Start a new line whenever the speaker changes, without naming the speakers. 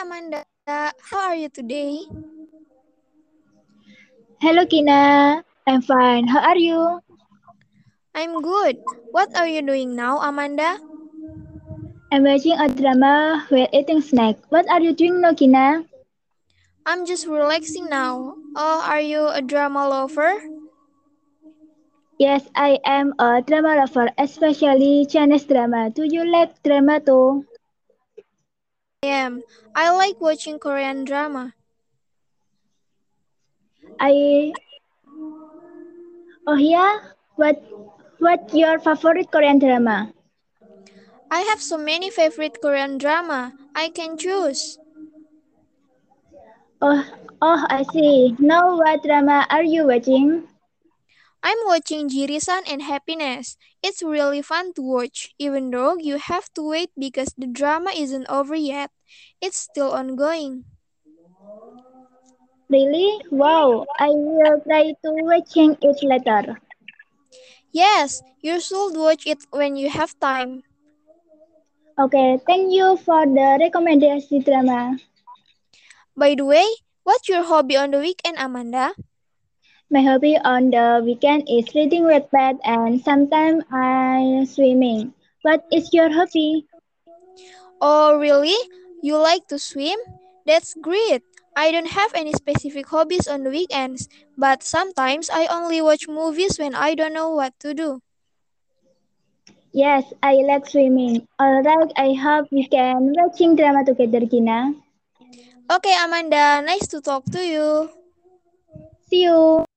Amanda. How are you today?
Hello, Kina. I'm fine. How are you?
I'm good. What are you doing now, Amanda?
I'm watching a drama while eating snack. What are you doing now, Kina?
I'm just relaxing now. Oh, are you a drama lover?
Yes, I am a drama lover, especially Chinese drama. Do you like drama too?
I am. I like watching Korean drama.
I oh yeah. What what your favorite Korean drama?
I have so many favorite Korean drama. I can choose.
Oh oh I see. Now what drama are you watching?
I'm watching Jirisan and Happiness. It's really fun to watch, even though you have to wait because the drama isn't over yet. It's still ongoing.
Really? Wow! I will try to watching it later.
Yes, you should watch it when you have time.
Okay, thank you for the recommendation drama.
By the way, what's your hobby on the weekend, Amanda?
My hobby on the weekend is reading Wattpad and sometimes I swimming. What is your hobby?
Oh, really? You like to swim? That's great. I don't have any specific hobbies on the weekends, but sometimes I only watch movies when I don't know what to do.
Yes, I like swimming. Alright, I hope we can watching drama together, Gina.
Okay, Amanda, nice to talk to you.
See you.